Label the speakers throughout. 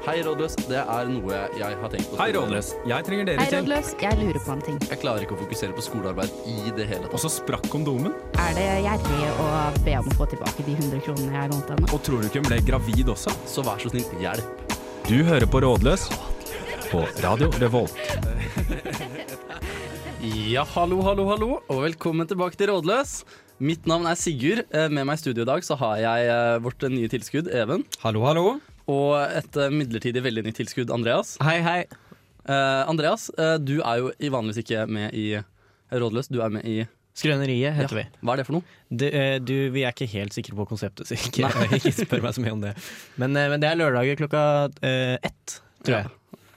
Speaker 1: Hei, rådløs. Det er noe jeg har tenkt på.
Speaker 2: Hei, Rådløs. Jeg trenger
Speaker 3: Hei,
Speaker 2: deres hjelp.
Speaker 3: rådløs. Jeg lurer på en ting.
Speaker 1: Jeg klarer ikke å fokusere på skolearbeid i det hele
Speaker 2: Og
Speaker 1: tatt.
Speaker 2: så sprakk kondomen.
Speaker 3: Er det gjerrig å be om å få tilbake de 100 kronene jeg lånte henne?
Speaker 2: Og tror du ikke hun ble gravid også?
Speaker 1: Så vær så snill, hjelp.
Speaker 2: Du hører på Rådløs på Radio Revolt.
Speaker 1: Ja, hallo, hallo, hallo, og velkommen tilbake til Rådløs. Mitt navn er Sigurd. Eh, Med meg i studio i dag så har jeg eh, vårt nye tilskudd, Even.
Speaker 4: Hallo, hallo.
Speaker 1: Og et eh, midlertidig veldig nytt tilskudd, Andreas.
Speaker 4: Hei, hei.
Speaker 1: Eh, Andreas, eh, du er jo i- vanligvis ikke med i Rådløs, du er med i
Speaker 4: Skrøneriet heter vi.
Speaker 1: Hva er det for noe?
Speaker 4: Du, eh, du, vi er ikke helt sikre på konseptet, så ikke, ikke spør meg så mye om det. Men, eh, men det er lørdager klokka eh, ett, tror jeg.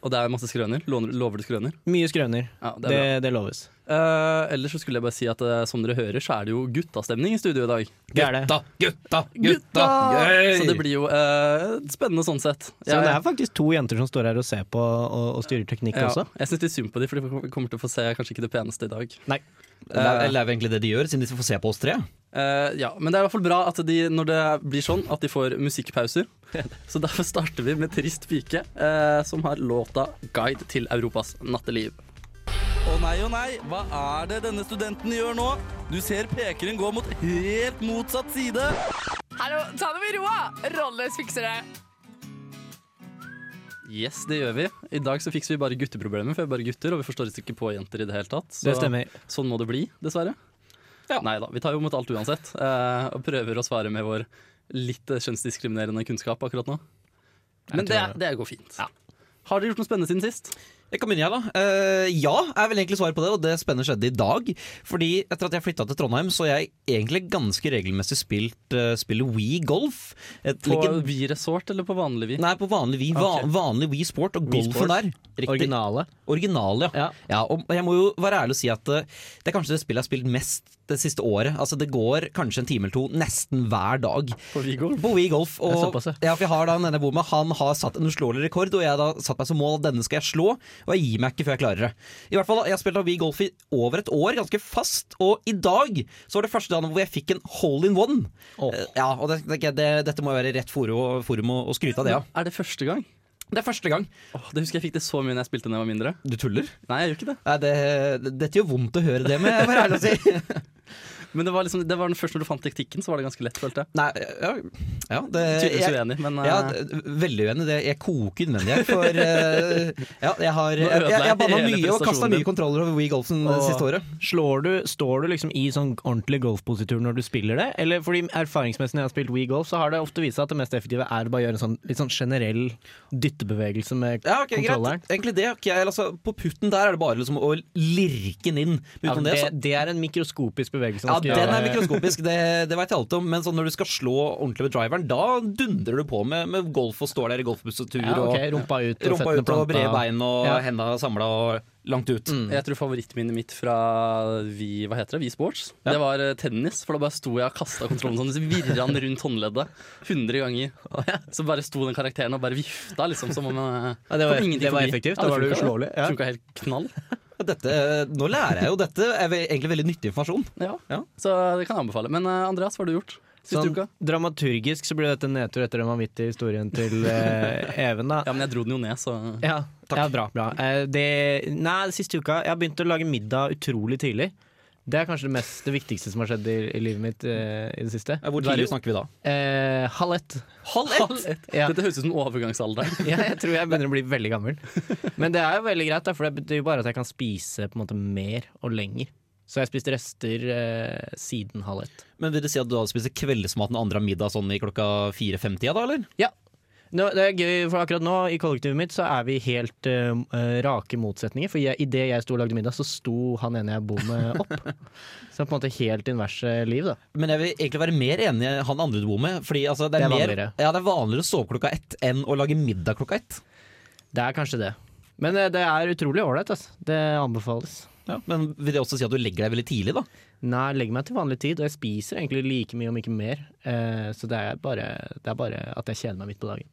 Speaker 1: Og det er masse skrøner. Låner, lover du skrøner?
Speaker 4: Mye skrøner.
Speaker 1: Ja, det
Speaker 4: Det,
Speaker 1: er bra.
Speaker 4: det, loves.
Speaker 1: Eh, ellers så skulle jeg bare si at eh, som dere hører, så er det jo guttastemning i studio i dag.
Speaker 4: Det er det.
Speaker 2: gutta,
Speaker 1: Så det blir jo eh, spennende sånn sett.
Speaker 4: Så det er faktisk to jenter som står her og ser på og, og styrer teknikk
Speaker 1: ja,
Speaker 4: også.
Speaker 1: jeg syns litt synd på dem, for de kommer til å få se kanskje ikke det peneste i dag.
Speaker 4: Nei.
Speaker 1: Eh,
Speaker 5: Eller er det egentlig det de gjør, siden de får se på oss tre?
Speaker 1: Eh, ja, Men det er i hvert fall bra at de, når det blir sånn, at de får musikkpauser. Så derfor starter vi med Trist pike, eh, som har låta 'Guide til Europas natteliv'. Å nei, å nei, hva er det denne studenten gjør nå? Du ser pekeren gå mot helt motsatt side.
Speaker 6: Hallo, ta det med ro, da! Rådløs fikser det.
Speaker 1: Yes, det gjør vi. I dag så fikser vi bare gutteproblemer, for vi er bare gutter, og vi forstår ikke på jenter i det hele tatt. Så
Speaker 4: Det stemmer.
Speaker 1: sånn må det bli, dessverre. Nei da, vi tar jo imot alt uansett, eh, og prøver å svare med vår litt eh, kjønnsdiskriminerende kunnskap akkurat nå. Men det, det går fint. Har dere gjort noe spennende siden sist?
Speaker 5: Jeg kan begynne, jeg, da. Eh, ja, er vel egentlig svaret på det, og det spennende skjedde i dag. Fordi etter at jeg flytta til Trondheim, så har jeg egentlig ganske regelmessig spilt uh, spillet Wii Golf. Et
Speaker 1: På
Speaker 5: legend-
Speaker 1: Wii Resort eller på vanlig Wii?
Speaker 5: Nei, på vanlig Wii. Va
Speaker 1: Ok.
Speaker 5: Vanlig Wii Sport og golfen
Speaker 4: Sport.
Speaker 5: der. Riktig.
Speaker 4: Originale.
Speaker 5: Original, ja.
Speaker 4: Ja.
Speaker 5: ja. og jeg må jo være ærlig og si at eh, det er kanskje det spillet jeg har spilt mest det siste året. Altså Det går kanskje en time eller to nesten hver dag.
Speaker 1: På Wii Golf?
Speaker 5: På Wii Golf. Og,
Speaker 4: Det er såpass, ja.
Speaker 5: ja, for jeg har da en jeg bor med, han har satt en uslåelig rekord, og jeg har da satt meg som mål at denne skal jeg slå, og jeg gir meg ikke før jeg klarer det. I hvert fall, Jeg har spilt av Wii Golf i over et år, ganske fast, og i dag så var det første dagen hvor jeg fikk en hole in one.
Speaker 4: Åh.
Speaker 5: Eh, Ja, og det, det, det, Dette må jo være rett forum, forum å, å skryte av det, ja.
Speaker 1: Er det første gang?
Speaker 5: Det er første gang.
Speaker 1: Åh, det husker jeg fikk det så mye når jeg spilte da jeg var mindre.
Speaker 5: Du tuller?
Speaker 1: Nei, jeg gjør ikke det.
Speaker 5: Nei, det, Dette gjør vondt å høre det, men jeg må være ærlig og si.
Speaker 1: Men det var, liksom, det var den første når du fant teknikken, så var det ganske lett, følte jeg.
Speaker 5: Nei, ja, ja det,
Speaker 1: Tydeligvis
Speaker 5: jeg,
Speaker 1: uenig, men eh,
Speaker 5: Ja, d- veldig uenig. Det, jeg koker innvendig her. For eh, ja, jeg har
Speaker 1: Nå
Speaker 5: jeg,
Speaker 1: ødela
Speaker 5: jeg,
Speaker 1: jeg
Speaker 5: jeg banna
Speaker 1: hele
Speaker 5: mye og kasta
Speaker 1: prestasjonen din.
Speaker 5: mye kontroller over Wii Golfen det
Speaker 4: Åh.
Speaker 5: siste året.
Speaker 4: Slår du, står du liksom i sånn ordentlig golfpositur når du spiller det? Eller fordi erfaringsmessig når jeg har spilt Wii Golf, så har det ofte vist seg at det mest effektive er bare å gjøre en sånn litt sånn generell dyttebevegelse med
Speaker 5: Ja, ok,
Speaker 4: kontrolleren.
Speaker 5: greit. Egentlig det. ok, jeg- altså, på putten der er det bare liksom å lirke den inn. Men
Speaker 4: Ja,
Speaker 5: Utenom
Speaker 4: det,
Speaker 5: det, så
Speaker 4: det er en mikroskopisk bevegelse.
Speaker 5: ja,
Speaker 4: man skal
Speaker 5: den er
Speaker 4: gjøre.
Speaker 5: mikroskopisk, det, det veit jeg alt om. Men sånn når du skal slå ordentlig med driveren, da dundrer du på med, med golf og står der i golfbusstur
Speaker 4: ja, ok,
Speaker 5: og
Speaker 4: Rumpa ut, og
Speaker 5: rumpa
Speaker 4: føttene
Speaker 5: ut og brede
Speaker 4: planta.
Speaker 5: bein og
Speaker 4: Ja. Mm.
Speaker 5: henda samla og langt ut.
Speaker 1: Jeg tror favorittminnet mitt fra Vi, hva heter det? Vi Sports. Det var eh, tennis, for da bare sto jeg og kasta kontrollen sånn, så virra den rundt håndleddet 100 ganger. Så bare sto den karakteren og bare vifta, liksom, som om eh,
Speaker 4: Ja, det var-
Speaker 1: kom
Speaker 4: det var effektivt, da var det
Speaker 1: funka,
Speaker 4: uslåelig, ja.
Speaker 1: Funka helt knall.
Speaker 5: Dette, eh, nå lærer jeg jo dette. er ve- egentlig veldig nyttig informasjon.
Speaker 1: Ja.
Speaker 5: Ja.
Speaker 1: Så det kan jeg anbefale. Men eh, Andreas, hva har du gjort siste
Speaker 4: Sånn,
Speaker 1: uka?
Speaker 4: dramaturgisk så blir dette en nedtur etter den vanvittige historien til eh, Even, da.
Speaker 1: Ja, men jeg dro den jo ned, så
Speaker 4: Ja, ja bra. bra. Eh, det, nei, siste uka Jeg har begynt å lage middag utrolig tidlig. Det er kanskje det, mest, det viktigste som har skjedd i, i livet mitt eh, i det siste.
Speaker 5: Hvor
Speaker 1: tidlig
Speaker 5: tidlig snakker vi da?
Speaker 4: Eh, halv ett.
Speaker 1: Halv ett!
Speaker 4: Ja.
Speaker 1: Dette høres ut som overgangsalderen.
Speaker 4: Ja, jeg tror jeg begynner å bli veldig gammel. Men det er jo veldig greit, da, for det betyr jo bare at jeg kan spise på en måte mer og lenger. Så jeg har spist rester eh, siden halv ett.
Speaker 5: Men vil det si at du hadde spist kveldsmaten andre middag sånn i klokka fire-fem-tida, da, eller?
Speaker 4: Ja. Nå, det er gøy, for akkurat nå i kollektivet mitt så er vi helt eh, rake motsetninger. For jeg, idet jeg sto og lagde middag, så sto han ene jeg bor med, opp. så på en måte helt inverse liv, da.
Speaker 5: Men jeg vil egentlig være mer enig i han andre du bor med. Fordi altså, det,
Speaker 4: Det
Speaker 5: er
Speaker 4: er
Speaker 5: mer,
Speaker 4: vanligere.
Speaker 5: ja, det er vanligere å sove klokka ett enn å lage middag klokka ett.
Speaker 4: Det er kanskje det. Men eh, det er utrolig ålreit, altså. Det anbefales.
Speaker 5: Men vil det også si at du legger deg veldig tidlig, da?
Speaker 4: Nei, jeg legger meg til vanlig tid, og jeg spiser egentlig like mye, om ikke mer. Eh, så det er, bare, det er bare at jeg kjeder meg midt på dagen.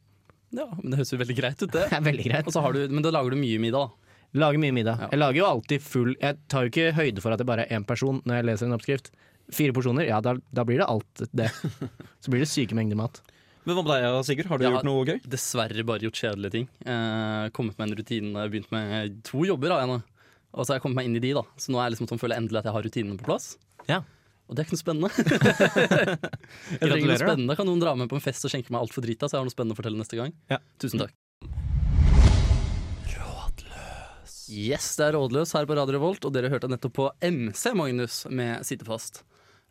Speaker 1: Ja, men det høres jo veldig greit ut,
Speaker 4: Det
Speaker 1: det.
Speaker 4: er veldig greit.
Speaker 1: Og så har du, men da lager du mye middag, da.
Speaker 4: Lager mye middag.
Speaker 1: Ja.
Speaker 4: Jeg lager jo alltid full Jeg tar jo ikke høyde for at det bare er én person når jeg leser en oppskrift. Fire porsjoner, ja da, da blir det alt det. Så blir det syke mengder mat.
Speaker 5: Men hva med deg, Sigurd? Har du
Speaker 1: Ja.
Speaker 5: gjort noe gøy?
Speaker 1: Dessverre bare gjort kjedelige ting. Eh, kommet med en rutine. Jeg har begynt med to jobber. Da, jeg nå. Og så har jeg kommet meg inn i de, da. Så nå er jeg liksom sånn, føler jeg endelig at jeg har rutinene på plass.
Speaker 7: Ja.
Speaker 1: Og det er ikke noe spennende. jeg trenger noe
Speaker 7: Gratulerer, da.
Speaker 1: spennende. Kan noen dra med på en fest og skjenke meg altfor drita, så jeg har noe spennende å fortelle neste gang?
Speaker 5: Ja.
Speaker 1: Tusen takk. Rådløs. Yes, det er Rådløs her på Radio Revolt, og dere hørte nettopp på MC Magnus med Sitte fast.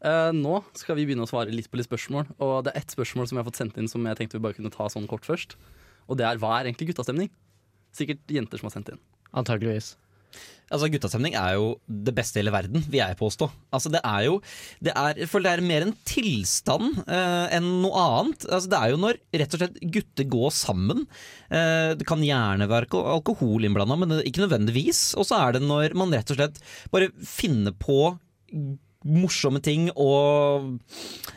Speaker 1: Eh, nå skal vi begynne å svare litt på litt spørsmål, og det er ett spørsmål som jeg har fått sendt inn som jeg tenkte vi bare kunne ta sånn kort først. Og det er hva er egentlig guttastemning? Sikkert jenter som har sendt inn.
Speaker 7: Antakeligvis.
Speaker 5: Altså, Guttastemning er jo det beste i hele verden, vil jeg påstå. Altså, det er jo det er, For det er mer en tilstand eh, enn noe annet. Altså, det er jo når rett og slett gutter går sammen. Eh, det kan gjerne være alko alkohol innblanda, men det- ikke nødvendigvis. Og så er det når man rett og slett bare finner på morsomme ting og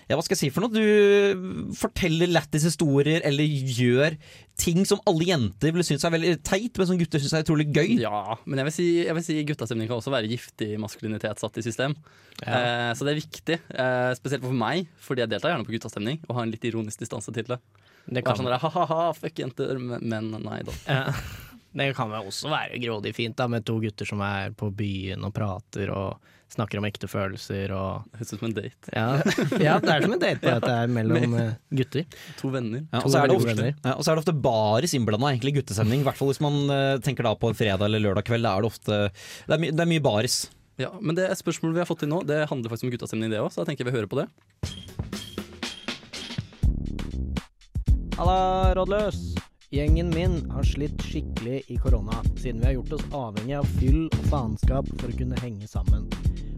Speaker 5: ja, hva skal jeg si for noe? Du forteller lættis historier eller gjør ting som alle jenter vil synes er veldig teit, men som gutter synes er utrolig gøy.
Speaker 1: Ja, men jeg vil si, jeg vil si guttastemning kan også være giftig maskulinitet satt i system. Eh, så det er viktig, eh, spesielt for meg, fordi jeg deltar gjerne på guttastemning og har en litt ironisk distanse til det.
Speaker 7: Det
Speaker 1: Og er sånn der, ha-ha-ha, fuck jenter, men men nei da.
Speaker 7: Ja. Det kan vel også være grådig fint da, med to gutter som er på byen og prater og snakker om ekte følelser og
Speaker 1: Høres ut som en date.
Speaker 7: Ja, ja det er som en date på dette her mellom eh, gutter.
Speaker 1: To venner.
Speaker 5: Ja,
Speaker 7: To
Speaker 5: og, så er det
Speaker 7: veldig gode
Speaker 5: ofte,
Speaker 7: venner.
Speaker 5: ja, og så er det ofte baris innblanda, egentlig, guttestemning. I hvert fall hvis man eh, tenker da på en fredag eller lørdag kveld. Da er det ofte Det er, my det er mye baris.
Speaker 1: Ja, men det spørsmålet vi har fått inn nå, det handler faktisk om guttastemning, det òg, så jeg tenker vi hører på det.
Speaker 7: Halla, rådløs! Gjengen min har slitt skikkelig i korona, siden vi har gjort oss avhengig av fyll og faenskap for å kunne henge sammen.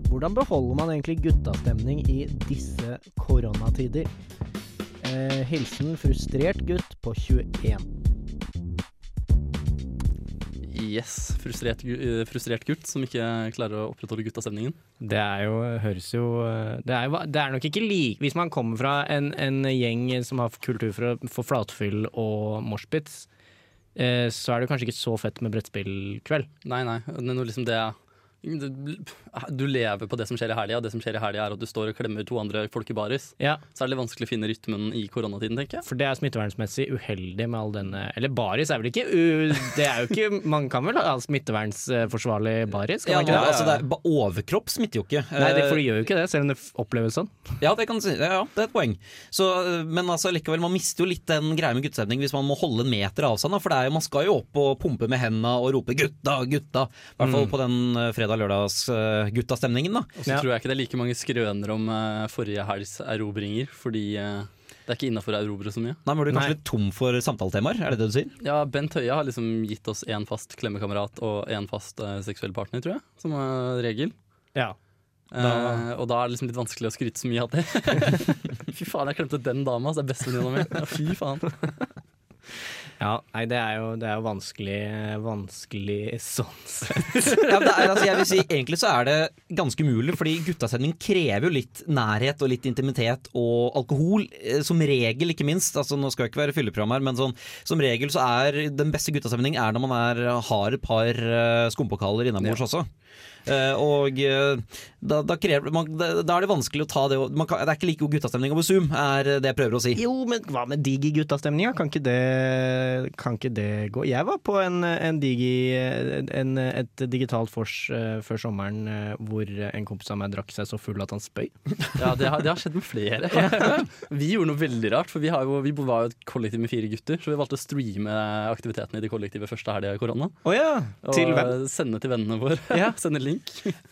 Speaker 7: Hvordan beholder man egentlig guttastemning i disse koronatider? Eh, hilsen frustrert gutt på 21.
Speaker 1: Yes, frustrert, gu- eh, frustrert gutt som ikke klarer å opprettholde guttastemningen.
Speaker 4: Det er jo, høres jo Det er, jo, det er nok ikke like Hvis man kommer fra en, en gjeng som har kultur for, å- for flatfyll og moshpits, eh, så er det kanskje ikke så fett med brettspillkveld.
Speaker 1: Nei, nei, det er noe liksom det du lever på det som skjer i helga, og det som skjer i helga er at du står og klemmer to andre folk i baris.
Speaker 4: Ja,
Speaker 1: Så er det litt vanskelig å finne rytmen i koronatiden, tenker jeg.
Speaker 4: for det er smittevernsmessig uheldig med all denne Eller baris er vel ikke u, Det er jo ikke Man kan vel ha smittevernsforsvarlig baris? Kan
Speaker 5: Ja,
Speaker 4: man ikke det?
Speaker 5: altså, det er, ba- overkropp smitter jo ikke.
Speaker 4: Nei, det,
Speaker 5: Eh,
Speaker 4: for det gjør jo ikke det, selv om det f- oppleves sånn.
Speaker 5: Ja, det kan du si. Ja, ja, det er et poeng. Så, eh, men altså, likevel, man mister jo litt den greia med guttestemning hvis man må holde en meter avstand. da, For det er jo, man skal jo opp og pumpe med henda og rope 'gutta, gutta'. I hvert fall på den eh, fredag-lørdags-guttastemningen, da.
Speaker 1: Og så tror jeg ikke det er like mange skrøner om eh, forrige helgs erobringer, fordi eh, det er ikke innafor å erobre så mye.
Speaker 5: Nei, men blir du
Speaker 4: Nei.
Speaker 5: kanskje litt tom for samtaletemaer, er det det du sier?
Speaker 1: Ja, Bent Høie har liksom gitt oss én fast klemmekamerat og én fast eh, seksuell partner, tror jeg, som eh, regel.
Speaker 4: Ja.
Speaker 1: Eh, og da er det liksom litt vanskelig å skryte så mye av det. Fy faen, jeg klemte den dama, så det er bestevenninna mi. Ja, fy faen.
Speaker 4: ja nei, det er jo, det er jo vanskelig, vanskelig sånn sett.
Speaker 5: ja, det er, altså, jeg vil si, egentlig så er det ganske umulig, fordi guttasending krever jo litt nærhet og litt intimitet og alkohol. eh, Som regel, ikke minst. Altså, nå skal jeg ikke være fylleprogram her, men sånn, som regel så er den beste guttastemning er når man er, har et par eh, skumpokaler innabords også. Eh, og eh, da, da, krever, man, da, da er det vanskelig å ta det og- man kan, Det er ikke like god guttastemning over Zoom, er det jeg prøver å si.
Speaker 7: Jo, men hva med digi guttastemninga? Kan, ikke det- kan ikke det gå? Jeg var på en, en digi, en, et digitalt vors eh, før sommeren eh, hvor en kompis av meg drakk seg så full at han spøy.
Speaker 1: Ja, det har, det har skjedd med flere. Vi gjorde noe veldig rart, for vi, har jo, vi var jo et kollektiv med fire gutter, så vi valgte å streame aktivitetene i det kollektivet første helga i korona.
Speaker 7: Å ja!
Speaker 1: Og
Speaker 7: Til hvem?
Speaker 1: sende til vennene våre.
Speaker 7: Ja.
Speaker 1: sende link.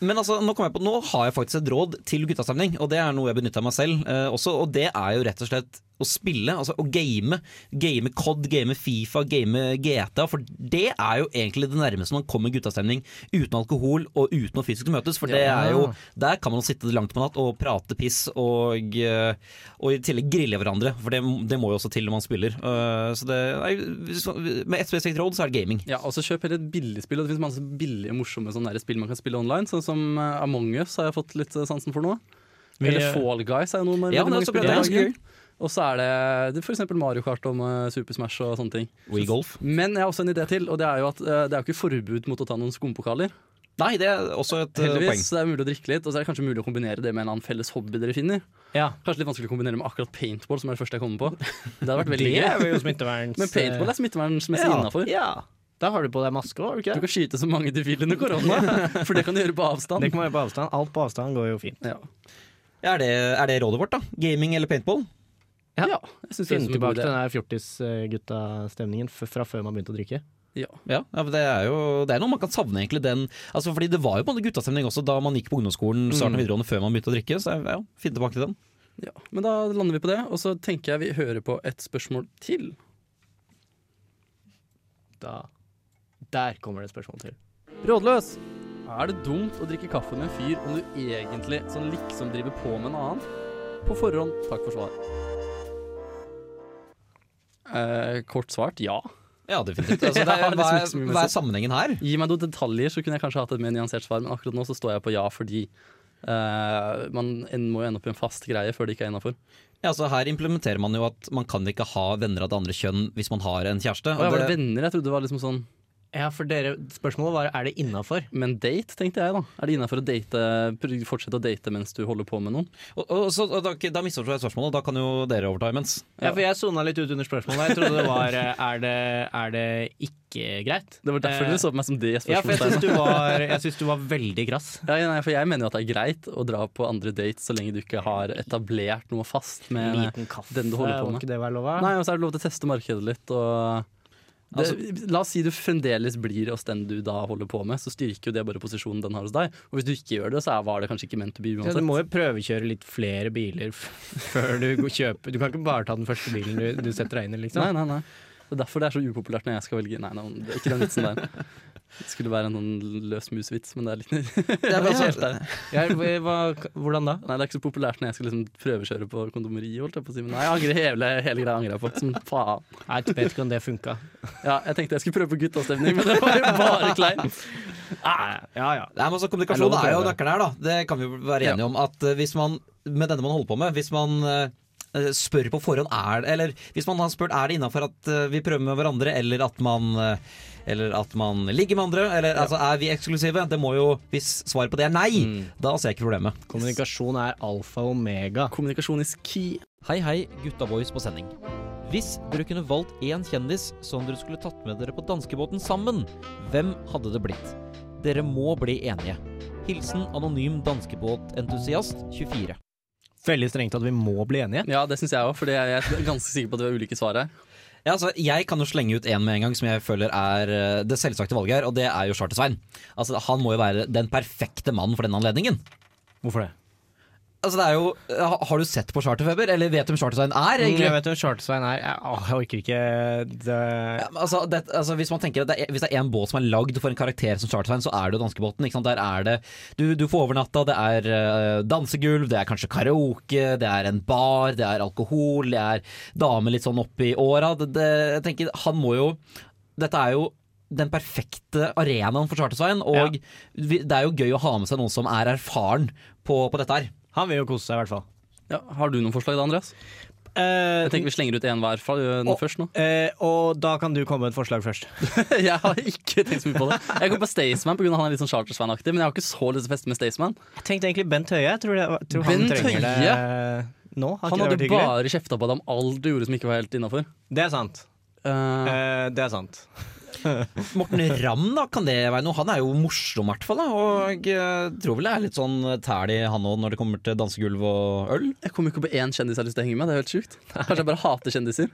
Speaker 5: Men altså, nå, kom jeg på, nå har jeg faktisk et råd til guttastemning, og det er noe jeg benytter meg selv eh, også. Og det er jo rett og slett å spille, altså å game. Game COD, game Fifa, game GTA. For det er jo egentlig det nærmeste man kommer guttastemning uten alkohol og uten å fysisk møtes. For det er jo, der kan man jo sitte langt på natt og prate piss og, eh, og i tillegg grille hverandre. For det, det må jo også til når man spiller. Eh, så det, nei, hvis man- med ett spesifikt råd, så er det gaming.
Speaker 1: Ja, og så kjøp heller et billigspill. og Det finnes masse billige morsomme sånne der spill man kan spille online, sånn som eh, Among us har jeg fått litt eh, sansen for nå. Eller Fall Guys er jo noen eh, veldig
Speaker 5: Ja, det er
Speaker 1: mange
Speaker 5: også
Speaker 1: spillere i
Speaker 5: bra. Det er ganske
Speaker 1: dag. Og så er det, det er for eksempel Mario Kart om eh, Super Smash og sånne ting.
Speaker 5: WeGolf.
Speaker 1: Men jeg har også en idé til, og det er jo at eh, det er jo ikke forbud mot å ta noen skumpokaler.
Speaker 5: Nei, det er også et eh,
Speaker 1: Heldigvis
Speaker 5: poeng.
Speaker 1: så det er mulig å drikke litt, og så er det kanskje mulig å kombinere det med en eller annen felles hobby dere finner.
Speaker 4: Ja.
Speaker 1: Kanskje litt vanskelig å kombinere med akkurat paintball, som er det første jeg kommer på. Det hadde vært veldig
Speaker 4: Det er
Speaker 1: gøy.
Speaker 4: jo smitteverns...
Speaker 1: Men paintball er smittevernmessig
Speaker 5: Ja.
Speaker 1: innafor.
Speaker 4: Ja. Da har du på deg maske òg, har du ikke
Speaker 1: Du
Speaker 4: det?
Speaker 1: kan skyte så mange du vil under korona, for det kan du gjøre på avstand.
Speaker 4: Det kan være på avstand. Alt på avstand går jo fint.
Speaker 1: Ja,
Speaker 5: Er det, er det rådet vårt, da? Gaming eller paintball?
Speaker 4: Ja.
Speaker 1: ja jeg syns det høres
Speaker 4: Finne
Speaker 1: ut som en
Speaker 4: tilbake
Speaker 1: god
Speaker 4: til
Speaker 1: idé.
Speaker 4: den der fjortisgutta-stemningen f- fra før man begynte å drikke.
Speaker 1: Ja.
Speaker 5: Ja, ja men det er jo det er noe man kan savne, egentlig. Den, altså, fordi det var jo på en måte guttastemning også da man gikk på ungdomsskolen, starten av videregående, før man begynte å drikke. Så ja, finn tilbake til den.
Speaker 1: Ja, men da lander vi på det, og så tenker jeg vi hører på et spørsmål til.
Speaker 4: Da Der kommer det et spørsmål til.
Speaker 7: Rådløs!
Speaker 1: Er det dumt å drikke kaffe med en fyr om du egentlig sånn liksom driver på med en annen? På forhånd, takk for svar. Eh, kort svart ja.
Speaker 5: Ja, definitivt. Altså, det
Speaker 1: Ja,
Speaker 5: er,
Speaker 1: det
Speaker 5: hva,
Speaker 1: smaker så
Speaker 5: er,
Speaker 1: mye
Speaker 5: hva
Speaker 1: med
Speaker 5: er sammenhengen her?
Speaker 1: Gi meg noen detaljer, så kunne jeg kanskje hatt et mer nyansert svar, men akkurat nå så står jeg på ja fordi eh, man en- må jo ende opp i en fast greie før det ikke er innafor.
Speaker 5: Ja, altså, her implementerer man jo at man kan ikke ha venner av det andre kjønn hvis man har en kjæreste.
Speaker 1: Var
Speaker 5: og
Speaker 1: det
Speaker 5: det-
Speaker 1: venner? Jeg trodde det var liksom sånn
Speaker 4: Ja, for dere, Spørsmålet var er det innafor.
Speaker 1: Men date, tenkte jeg, da. Er det innafor å date, fortsette å date mens du holder på med noen?
Speaker 5: og, og, så, og, da, da misforstår jeg spørsmålet, og da kan jo dere overta imens.
Speaker 4: Ja, for jeg sona litt ut under spørsmålet. Jeg trodde det var eh, er det, er det ikke greit.
Speaker 1: Det var derfor
Speaker 4: Eh,
Speaker 1: dere så på meg som det
Speaker 4: Ja, for jeg
Speaker 1: spørsmålstegnet.
Speaker 4: syns du, var- jeg synes du var veldig krass.
Speaker 1: Ja, nei, for jeg mener jo at det er greit å dra på andre dates så lenge du ikke har etablert noe fast med
Speaker 4: Liten kaffe,
Speaker 1: den du holder på
Speaker 4: må
Speaker 1: med.
Speaker 4: ikke det være lov?
Speaker 1: Nei, og så er det lov til å teste markedet litt og det, La oss si du fremdeles blir hos den du da holder på med, så styrker jo det bare posisjonen den har hos deg. Og hvis du ikke gjør det, så er- var det kanskje ikke meant to be
Speaker 4: Ja, du
Speaker 1: uansett.
Speaker 4: må jo prøvekjøre litt flere biler f før du går- kjøper Du kan ikke bare ta den første bilen du, du setter deg inn i,
Speaker 1: Nei,
Speaker 4: liksom.
Speaker 1: nei, nei. Det er derfor det er så upopulært når jeg skal velge Nei, nei, det er ikke den vitsen der. Det skulle være en sånn løs mus-vits, men det er litt
Speaker 5: Det er,
Speaker 1: helt
Speaker 5: altså,
Speaker 4: Ja, hva, hvordan da?
Speaker 1: Nei, det er ikke så populært når jeg skal liksom prøvekjøre på kondomeriet, holdt jeg på å si. Men nei, jeg angrer hele, hele greia angrer jeg på. Som faen.
Speaker 4: Nei, Jeg vet ikke om det funka.
Speaker 1: Ja, jeg tenkte jeg skulle prøve på guttastemning, men det var jo bare kleint.
Speaker 4: Ah, Ja, ja.
Speaker 5: Nei, men altså,
Speaker 4: Jeg
Speaker 5: kommunikasjon
Speaker 4: lover å
Speaker 5: er jo
Speaker 4: prøve.
Speaker 5: nøkkelen her, da. Det kan vi jo være enige om. At eh, hvis man, med denne man holder på med, hvis man eh, spør på forhånd er det Eller hvis man har spurt er det innafor at eh, vi prøver med hverandre, eller at man eh, eller at man ligger med andre, eller altså er vi eksklusive? Det må jo, Hvis svaret på det er nei,
Speaker 4: Mm.
Speaker 5: da ser jeg ikke problemet.
Speaker 4: Kommunikasjon er alfa og omega.
Speaker 1: Kommunikasjon is key.
Speaker 5: Hei, hei, gutta boys på sending. Hvis dere kunne valgt én kjendis som dere skulle tatt med dere på danskebåten sammen, hvem hadde det blitt? Dere må bli enige. Hilsen anonym danskebåtentusiast 24.
Speaker 4: Veldig strengt at vi må bli enige.
Speaker 1: Ja, det syns jeg òg, for jeg er ganske sikker på at vi har ulike svar her.
Speaker 5: Ja, altså, jeg kan jo slenge ut én med en gang som jeg føler er eh, det selvsagte valget her, og det er jo Charter-Svein. Altså, han må jo være den perfekte mannen for denne anledningen.
Speaker 4: Hvorfor det?
Speaker 5: Altså, det er jo, ha- Har du sett på Charterfeber, eller vet du hvem Charter-Svein er?
Speaker 4: Mm, Jeg
Speaker 5: egentlig?
Speaker 4: vet hvem Charter-Svein er. Jeg, åh, jeg orker ikke det
Speaker 5: Ja, men altså, det, altså, hvis man tenker at det er, Hvis det er en båt som er lagd for en karakter som Chartersveien, så er det jo danskebåten. ikke sant? Der er det Du, du får overnatta, det er eh, dansegulv, det er kanskje karaoke, det er en bar, det er alkohol, det er damer litt sånn oppi åra. Det, det, jeg tenker, han må jo Dette er jo den perfekte arenaen for Chartersveien, og vi, det er jo gøy å ha med seg noen som er erfaren på, på dette her.
Speaker 4: Han vil jo kose seg, i hvert fall.
Speaker 1: Ja, har du noen forslag da, Andreas?
Speaker 4: Eh,
Speaker 1: Jeg tenker vi slenger ut én hver fra den
Speaker 4: Å.
Speaker 1: først nå.
Speaker 4: eh, og da kan du komme med et forslag først.
Speaker 1: Jeg har ikke tenkt så mye på det. Jeg går på Staysman pga. han er litt sånn Charter-Svein-aktig, men jeg har ikke så lyst til å feste med Staysman.
Speaker 4: Jeg tenkte egentlig Bent Høie. Jeg tror, det, tror han
Speaker 1: Bent
Speaker 4: trenger det nå. Har
Speaker 1: Han
Speaker 4: ikke det vært
Speaker 1: hadde
Speaker 4: hyggelig?
Speaker 1: bare kjefta på deg om alt du gjorde som ikke var helt innafor.
Speaker 4: Det er sant. Eh, det er sant.
Speaker 5: Morten Ramm, da, kan det være noe? Han er jo morsom, i hvert fall. da, Og eh, tror vel det er litt sånn tæl i han òg når det kommer til dansegulv og øl.
Speaker 1: Jeg kommer ikke på én kjendis jeg har lyst til å henge med. Det er helt sjukt. Kanskje jeg bare hater kjendiser.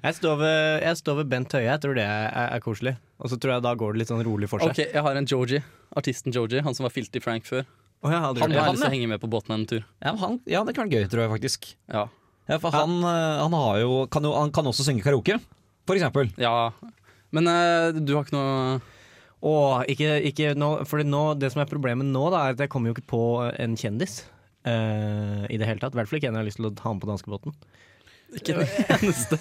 Speaker 4: Jeg står, ved, jeg står ved Bent Høie. Jeg tror det er, er koselig. Og så tror jeg da går det litt sånn rolig for seg.
Speaker 1: Ok, jeg har en Georgie. Artisten Georgie, han som var filty Frank før.
Speaker 4: Å, jeg har aldri
Speaker 1: Han har
Speaker 4: gjort det.
Speaker 1: jeg lyst til å henge med på båten en tur.
Speaker 5: Ja, men han, ja det kan være gøy, tror jeg faktisk.
Speaker 1: Ja.
Speaker 5: Ja, for han, eh, han, har jo, kan jo, han kan også synge karaoke, for eksempel.
Speaker 1: ja. Men eh, du har ikke noe
Speaker 4: Å, ikke, ikke nå, fordi nå, det som er problemet nå, da, er at jeg kommer jo ikke på en kjendis. eh, I det hele tatt. I hvert fall ikke en jeg har lyst til å ha med på danskebåten.
Speaker 1: Ikke det eneste.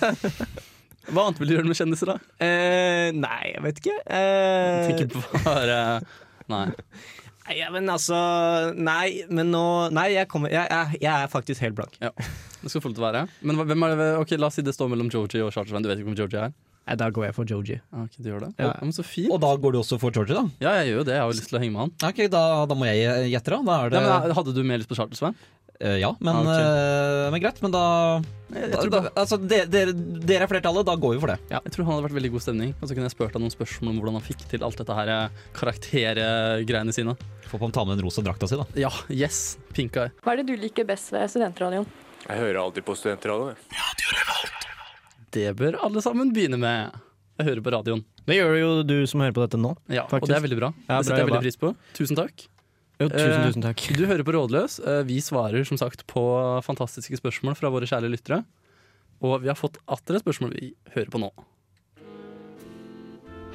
Speaker 1: Hva annet vil du gjøre med kjendiser, da?
Speaker 4: Eh, nei, jeg vet ikke. Eh,
Speaker 1: Tenker bare Nei.
Speaker 4: nei, ja, men altså Nei, men nå Nei, jeg, kommer, jeg, jeg, jeg er faktisk helt blank.
Speaker 1: Det skal få lov til å være. Men hva- hvem er det Ok, La oss si det står mellom Georgie og Charter-Svein. Du vet ikke hvem Georgie er?
Speaker 4: Nei, da går jeg for Joji.
Speaker 1: Ja, ok, du gjør det?
Speaker 4: Ja.
Speaker 1: Ja. men så fint.
Speaker 5: Og da går du også for Georgie, da?
Speaker 1: Ja, jeg gjør jo det. Jeg har jo lyst til å henge med han.
Speaker 5: Ja, Ok, da, da må jeg gjette, da. Da er det
Speaker 1: Nei, men, eh, hadde du mer lyst på Charter, Svein?
Speaker 5: Eh, Ja, men,
Speaker 1: Ah, ok.
Speaker 5: eh, men greit. Men da, da, da Altså, de- dere dere er flertallet, da går vi for det.
Speaker 1: Jeg tror han hadde vært veldig god stemning. Og så kunne jeg spurt han noen spørsmål om hvordan han fikk til alt dette her eh, karaktergreiene sine.
Speaker 5: Får man ta med den rosa drakta si, da.
Speaker 1: Ja, yes. Pink eye.
Speaker 8: Hva er det du liker best ved studentradioen?
Speaker 9: Jeg hører alltid på studentradioen. jeg.
Speaker 1: Det bør alle sammen begynne med. Jeg hører på radioen.
Speaker 4: Det gjør jo du som hører på dette nå.
Speaker 1: Ja,
Speaker 4: Faktisk.
Speaker 1: Og det er veldig bra.
Speaker 4: Ja,
Speaker 1: det setter jeg
Speaker 4: bra
Speaker 1: veldig pris på. Tusen takk.
Speaker 4: Jo, tusen,
Speaker 1: Eh,
Speaker 4: tusen takk.
Speaker 1: Du hører på Rådløs. Eh, Vi svarer som sagt på fantastiske spørsmål fra våre kjære lyttere. Og vi har fått atter et spørsmål vi hører på nå.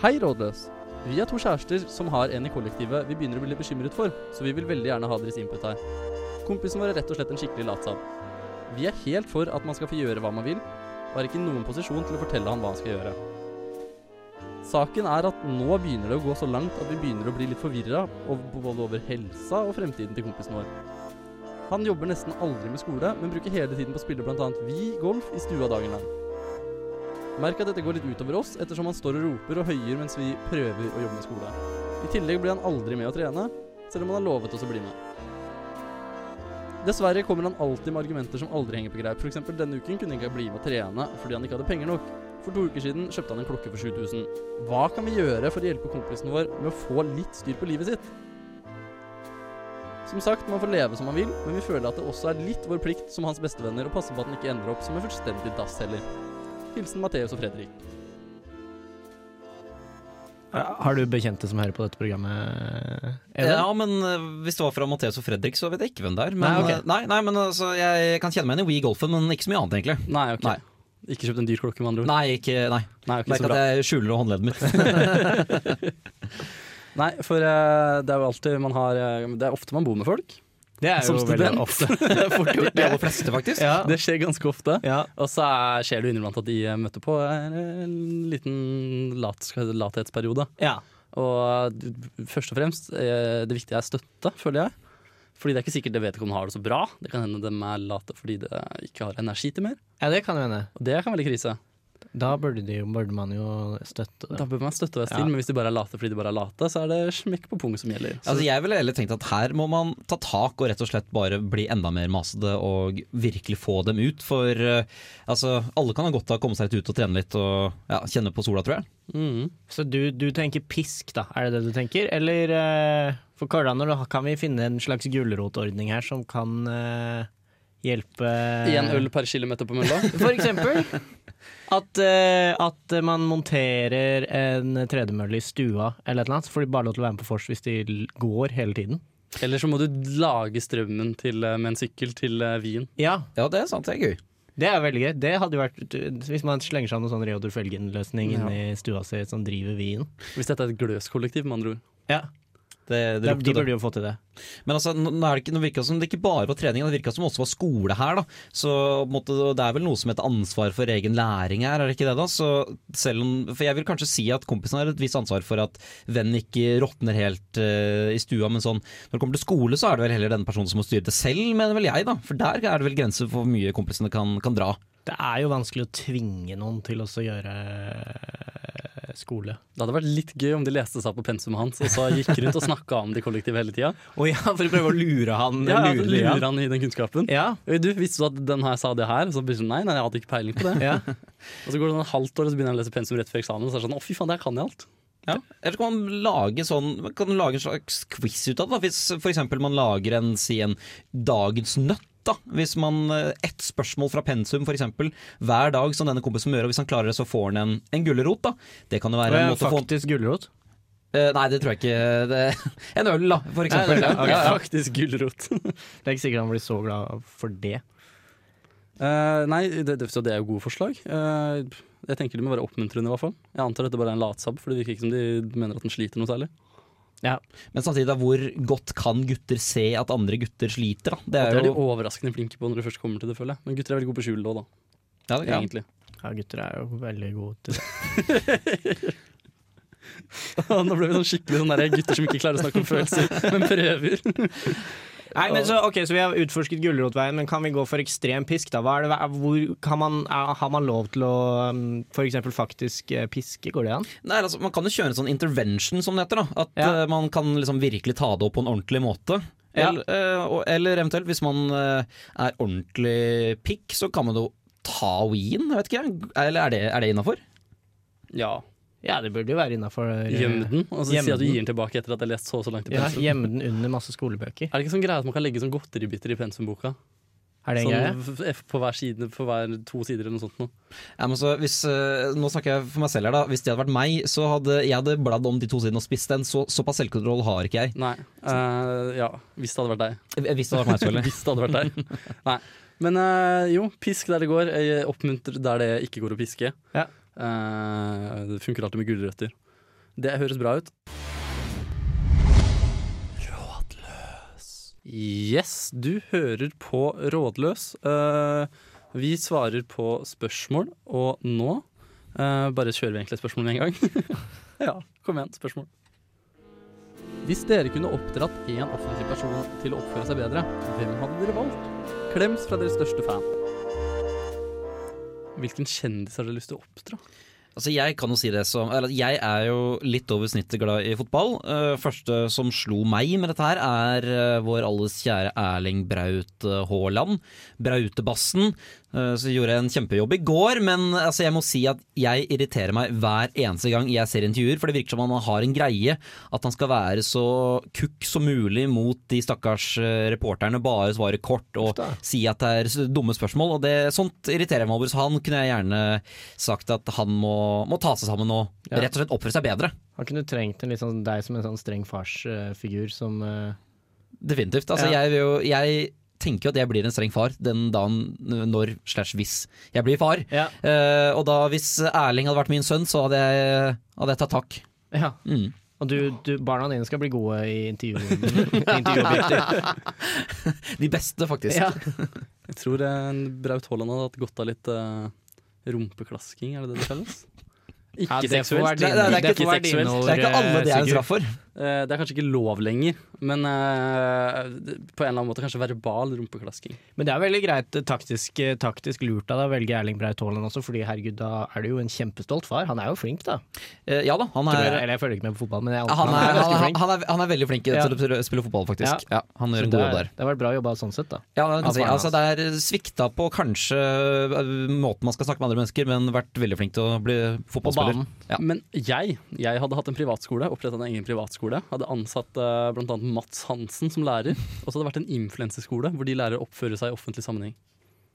Speaker 1: Hei, Rådløs. Vi er to kjærester som har en i kollektivet vi begynner å bli litt bekymret for, så vi vil veldig gjerne ha deres input her. Kompisen vår er rett og slett en skikkelig latsabb. Vi er helt for at man skal få gjøre hva man vil, og er ikke i noen posisjon til å fortelle ham hva han skal gjøre. Saken er at nå begynner det å gå så langt at vi begynner å bli litt forvirra både over helsa og fremtiden til kompisen vår. Han jobber nesten aldri med skole, men bruker hele tiden på å spille bl.a. vi golf i stua dagen lang. Merk at dette går litt utover oss, ettersom han står og roper og høyer mens vi prøver å jobbe med skole. I tillegg blir han aldri med å trene, selv om han har lovet oss å bli med. Dessverre kommer han alltid med argumenter som aldri henger på greip. F.eks. denne uken kunne ikke jeg bli med å trene fordi han ikke hadde penger nok. For to uker siden kjøpte han en klokke for 7000. Hva kan vi gjøre for å hjelpe kompisen vår med å få litt styr på livet sitt? Som sagt, man får leve som man vil, men vi føler at det også er litt vår plikt som hans bestevenner å passe på at han ikke ender opp som en fullstendig dass heller. Hilsen Matheus og Fredrik.
Speaker 4: Har du bekjente som hører på dette programmet? Even?
Speaker 5: Ja, men eh, hvis det var fra Matheus og Fredrik, så vet jeg ikke hvem det er. Men,
Speaker 4: Nei, ok.
Speaker 5: eh, nei, nei, men altså, jeg kan kjenne meg igjen i Wii Golfen, men ikke så mye annet, egentlig.
Speaker 1: Nei, ok.
Speaker 5: Nei.
Speaker 1: Ikke kjøpt en dyr klokke, med andre ord.
Speaker 5: Nei, ikke, nei.
Speaker 1: Nei, ok,
Speaker 5: Merk
Speaker 1: Mm. så
Speaker 5: at
Speaker 1: bra.
Speaker 5: jeg skjuler håndleddet mitt.
Speaker 1: Nei, for eh, det er jo alltid man har eh, Det er ofte man bor med folk.
Speaker 4: Det er
Speaker 1: Som
Speaker 4: jo veldig
Speaker 1: student.
Speaker 4: ofte.
Speaker 1: Det er fort gjort,
Speaker 5: De
Speaker 1: det.
Speaker 5: aller fleste, faktisk.
Speaker 4: Ja.
Speaker 1: Det skjer ganske ofte.
Speaker 4: Ja.
Speaker 1: Og så er- skjer det jo innimellom at de eh, møter på en en liten lat, skal jeg si, lathetsperiode.
Speaker 4: Ja.
Speaker 1: Og d- først og fremst, eh, det viktige er støtte, føler jeg. Fordi det er ikke sikkert det vedkommende har det så bra. Det kan hende de er late fordi de ikke har energi til mer.
Speaker 4: ja, det kan jo hende.
Speaker 1: Og det kan være litt krise.
Speaker 4: Da burde, de, jo- burde man jo støtte
Speaker 1: Da
Speaker 4: det.
Speaker 1: bør man støtte og være
Speaker 4: Ja.
Speaker 1: snill, men hvis de bare er late fordi de bare er late, så er det smekk på pung som gjelder. Så,
Speaker 5: Altså, jeg ville heller tenkt at her må man ta tak og rett og slett bare bli enda mer masete og virkelig få dem ut. For eh, altså, alle kan ha godt av å komme seg litt ut og trene litt og ja, kjenne på sola, tror jeg.
Speaker 1: mm.
Speaker 4: Så du, du tenker pisk, da? Er det det du tenker? Eller eh, for Karlaner, da kan vi finne en slags gulrotordning her som kan eh, hjelpe
Speaker 1: Én øl per kilometer på mølla.
Speaker 4: For eksempel at, eh, at man monterer en tredemølle i stua eller et eller annet. Så får de bare lov til å være med på vors hvis de l- går hele tiden.
Speaker 1: Eller så må du lage strømmen til, eh, med en sykkel til eh, Wien.
Speaker 4: Ja,
Speaker 5: Ja, det er sant. Det er gøy.
Speaker 4: det er veldig gøy. Det hadde jo vært Hvis man slenger seg noen sånn Reodor Felgen-løsning
Speaker 1: Ja.
Speaker 4: inni stua si som driver vin.
Speaker 1: Hvis dette er et gløskollektiv, med andre ord.
Speaker 4: Ja,
Speaker 5: Det, det
Speaker 4: De
Speaker 5: lukter det.
Speaker 4: burde jo få til det.
Speaker 5: Men altså, nå nå er det, ikke, nå virker det som det ikke bare var trening, det virka som det også var skole her. da. Så på en måte, Det er vel noe som heter ansvar for egen læring her, er det ikke det? da? Så selv om, for Jeg vil kanskje si at kompisen har et visst ansvar for at vennen ikke råtner helt eh, i stua, men sånn, når det kommer til skole, så er det vel heller den personen som må styre det selv, mener vel jeg. da. For der er det vel grenser for hvor mye kompisene kan, kan dra.
Speaker 4: Det er jo vanskelig å tvinge noen til også å gjøre eh, skole.
Speaker 1: Det hadde vært litt gøy om de leste seg opp på pensumet hans og så gikk rundt og snakka om det i kollektivet hele tida.
Speaker 4: Å ja, for å prøve å lure han.
Speaker 1: Ja, ja,
Speaker 4: lure,
Speaker 1: lurer
Speaker 4: han.
Speaker 1: han i den kunnskapen.
Speaker 4: Ja,
Speaker 1: Oi, Du, visste du at den her sa det her? Og så blir det sånn, nei, nei, jeg hadde ikke peiling på det.
Speaker 4: ja.
Speaker 1: Og så går det sånn et halvt år, og så begynner jeg å lese pensum rett før eksamen. Og så er det sånn, å fy faen, det her kan jeg alt.
Speaker 5: Ja. Eller så kan man lage, sånn, man kan lage en slags quiz ut av det. da. Hvis f.eks. man lager en, si en dagens nøtt. Da. Hvis man eh, Ett spørsmål fra pensum for eksempel, hver dag som denne kompisen må gjøre, og hvis han klarer det, så får han en, en gulrot. da. Det kan jo være
Speaker 4: Eh,
Speaker 5: en måte å få
Speaker 4: Faktisk gulrot.
Speaker 5: Eh, Nei, det tror jeg ikke. Det, en øl, da, for eksempel.
Speaker 4: Nei, en øl, ja.
Speaker 5: Ja, ja.
Speaker 1: Faktisk gulrot.
Speaker 4: Det er ikke sikkert han blir så glad for det.
Speaker 1: Eh, nei, det, det, så det er jo gode forslag. Eh, jeg tenker det må være oppmuntrende, i hvert fall. Jeg antar dette bare er en latsabb, for det virker ikke som de mener at den sliter noe særlig.
Speaker 5: Men samtidig, da, hvor godt kan gutter se at andre gutter sliter? da? Det
Speaker 1: Det
Speaker 5: er
Speaker 1: er de
Speaker 5: jo
Speaker 1: overraskende flinke på når de først kommer til det, føler jeg. Men gutter er veldig gode på skjul òg, da.
Speaker 5: ja, ja.
Speaker 1: Egentlig.
Speaker 4: Ja, gutter er jo veldig gode til det.
Speaker 1: Nå ble vi sånn skikkelig sånn der gutter som ikke klarer å snakke om følelser, men prøver.
Speaker 4: Nei, men så, ok, så vi har utforsket gulrotveien, men kan vi gå for ekstrem pisk, da? Hva er det, hvor, kan man, er, har man lov til å um, for eksempel faktisk eh, piske? Går det an?
Speaker 5: Nei, altså, man kan jo kjøre en sånn intervention, som det heter. da At
Speaker 4: Ja.
Speaker 5: eh, man kan liksom virkelig ta det opp på en ordentlig måte.
Speaker 4: Ja.
Speaker 5: Eller, eh, og- eller eventuelt, hvis man eh, er ordentlig pikk, så kan man jo ta weeen. Jeg vet ikke, jeg. eller er det, er det innafor?
Speaker 1: Ja.
Speaker 4: Ja, det burde jo være innafor.
Speaker 1: Gjem den, og så
Speaker 4: Gjem
Speaker 1: si at du
Speaker 4: den.
Speaker 1: gir den tilbake etter at jeg har lest så og så langt i
Speaker 4: Ja,
Speaker 1: pensum.
Speaker 4: Gjemme den under masse skolebøker.
Speaker 1: Er det ikke sånn greie at man kan legge sånn godteribiter i pensumboka?
Speaker 4: Er det en greie?
Speaker 1: Sånn f- f- på hver side, på hver to sider eller noe sånt noe.
Speaker 5: Ja, men så hvis, eh, nå snakker jeg for meg selv her, da. Hvis det hadde vært meg, så hadde jeg hadde bladd om de to sidene og spist den. Så, såpass selvkontroll har ikke jeg. Eh,
Speaker 1: Nei. eh, ja, hvis det hadde vært deg.
Speaker 5: Hvis det hadde vært meg, selvfølgelig.
Speaker 1: Hvis det hadde vært deg. Nei. Men eh, jo, pisk der det går. Jeg oppmuntrer der det ikke går å piske.
Speaker 4: Ja.
Speaker 1: Eh, det funker alltid med gulrøtter. Det høres bra ut. Rådløs. Yes, du hører på Rådløs. Eh, vi svarer på spørsmål, og nå eh, bare kjører vi egentlig spørsmål med en gang. ja, kom igjen, spørsmål. Hvis dere kunne oppdratt én offentlig person til å oppføre seg bedre, hvem hadde dere valgt? Klems fra deres største fan. Hvilken kjendis har dere lyst til å oppdra?
Speaker 5: Altså Jeg kan jo si det som eller Jeg er jo litt over snittet glad i fotball. Eh, Første som slo meg med dette her, er eh, vår alles kjære Erling Braut eh, Haaland. Brautebassen. Eh, Så gjorde jeg en kjempejobb i går, men altså jeg må si at jeg irriterer meg hver eneste gang jeg ser intervjuer, for det virker som om han har en greie. At han skal være så kukk som mulig mot de stakkars eh, reporterne, bare svare kort og si at det er s- dumme spørsmål. Og det, sånt irriterer jeg meg over, så han kunne jeg gjerne sagt at han må, må ta seg sammen og
Speaker 4: Ja.
Speaker 5: rett og slett oppføre seg bedre.
Speaker 4: Han kunne trengt en litt sånn, deg som en sånn streng farsfigur som eh,
Speaker 5: Definitivt. Altså,
Speaker 4: Ja.
Speaker 5: jeg, vil jo, jeg tenker jo at jeg blir en streng far den dagen n- når slash hvis jeg blir far.
Speaker 4: Ja.
Speaker 5: Eh, og da hvis Erling hadde vært min sønn, så hadde jeg, hadde jeg tatt tak.
Speaker 4: ja.
Speaker 5: Mm.
Speaker 4: Og du, du, barna dine skal bli gode i intervjuer. intervjuobjekter.
Speaker 5: De beste, faktisk.
Speaker 4: ja.
Speaker 1: Jeg tror eh, Braut Haaland hadde hatt godt av litt eh, rumpeklasking, er det det det kalles? Ikke
Speaker 4: Ja, det får
Speaker 1: seksuelt.
Speaker 4: være
Speaker 5: Det,
Speaker 4: dine-
Speaker 5: det, er
Speaker 4: det
Speaker 5: ikke,
Speaker 4: får være dine
Speaker 1: seksuelt.
Speaker 5: det er ikke alle det er en
Speaker 4: Sigurd.
Speaker 5: straff for.
Speaker 1: Eh, det er kanskje ikke lov lenger, men eh, det- på en eller annen måte kanskje verbal rumpeklasking.
Speaker 4: Men det er veldig greit eh, taktisk, eh, taktisk lurt av deg å velge Erling Braut Haaland også, fordi herregud, da er du jo en kjempestolt far. Han er jo flink, da.
Speaker 5: Eh, ja da, han
Speaker 4: Tror jeg,
Speaker 5: er,
Speaker 4: eller jeg følger ikke med på fotball, men jeg,
Speaker 5: han, er, han, er,
Speaker 4: ganske
Speaker 5: han,
Speaker 4: flink.
Speaker 5: er, han er veldig flink
Speaker 4: Ja.
Speaker 5: til å spille- spille fotball, faktisk. Ja. han gjør
Speaker 4: Så
Speaker 5: en
Speaker 4: det,
Speaker 5: god jobb
Speaker 4: er,
Speaker 5: der.
Speaker 4: det har vært bra jobba sånn sett, da.
Speaker 5: Ja, det,
Speaker 4: Av
Speaker 5: kan jeg si.
Speaker 4: barna
Speaker 5: altså, det er svikta på kanskje eh, måten man skal snakke med andre mennesker, men vært veldig flink til å bli fotballspiller.
Speaker 4: banen.
Speaker 5: Ja.
Speaker 1: Men jeg, jeg hadde hatt en privatskole, opprettet en egen privatskole. Hadde ansatt eh, blant bl.a. Mats Hansen som lærer. Og så hadde det vært en influenseskole hvor de lærer å oppføre seg i offentlig sammenheng.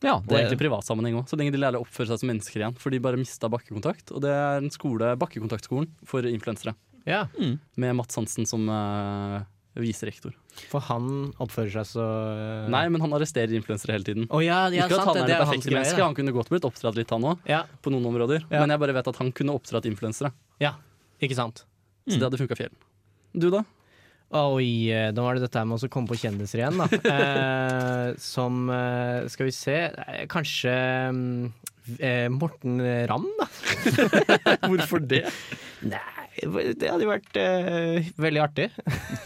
Speaker 5: Ja,
Speaker 1: Og egentlig privat sammenheng òg, så lenge de lærer å oppføre seg som mennesker igjen. For de bare mista bakkekontakt, og det er en skole, bakkekontaktskolen for influensere.
Speaker 4: Ja,
Speaker 1: Med Mats Hansen som uh, viserektor.
Speaker 4: For han oppfører seg så eh,
Speaker 1: Nei, men han arresterer influensere hele tiden.
Speaker 4: Å ja, ja,
Speaker 1: Ikke at
Speaker 4: sant,
Speaker 1: han er
Speaker 4: det
Speaker 1: det
Speaker 4: hans
Speaker 1: perfekte
Speaker 4: greie,
Speaker 1: mennesket,
Speaker 4: da.
Speaker 1: han kunne godt blitt oppdratt litt, han òg,
Speaker 4: Ja,
Speaker 1: på noen områder.
Speaker 4: Ja.
Speaker 1: Men jeg bare vet at han kunne oppdratt influensere,
Speaker 4: ja, ikke sant.
Speaker 1: så
Speaker 4: Mm.
Speaker 1: det hadde funka fjell. Du, da?
Speaker 4: Oi, eh, da var det dette her med å så komme på kjendiser igjen, da. Eh, som eh, Skal vi se eh, Kanskje mm, eh, Morten Ramm, da?
Speaker 1: Hvorfor det?
Speaker 4: Nei, det hadde jo vært eh, veldig artig.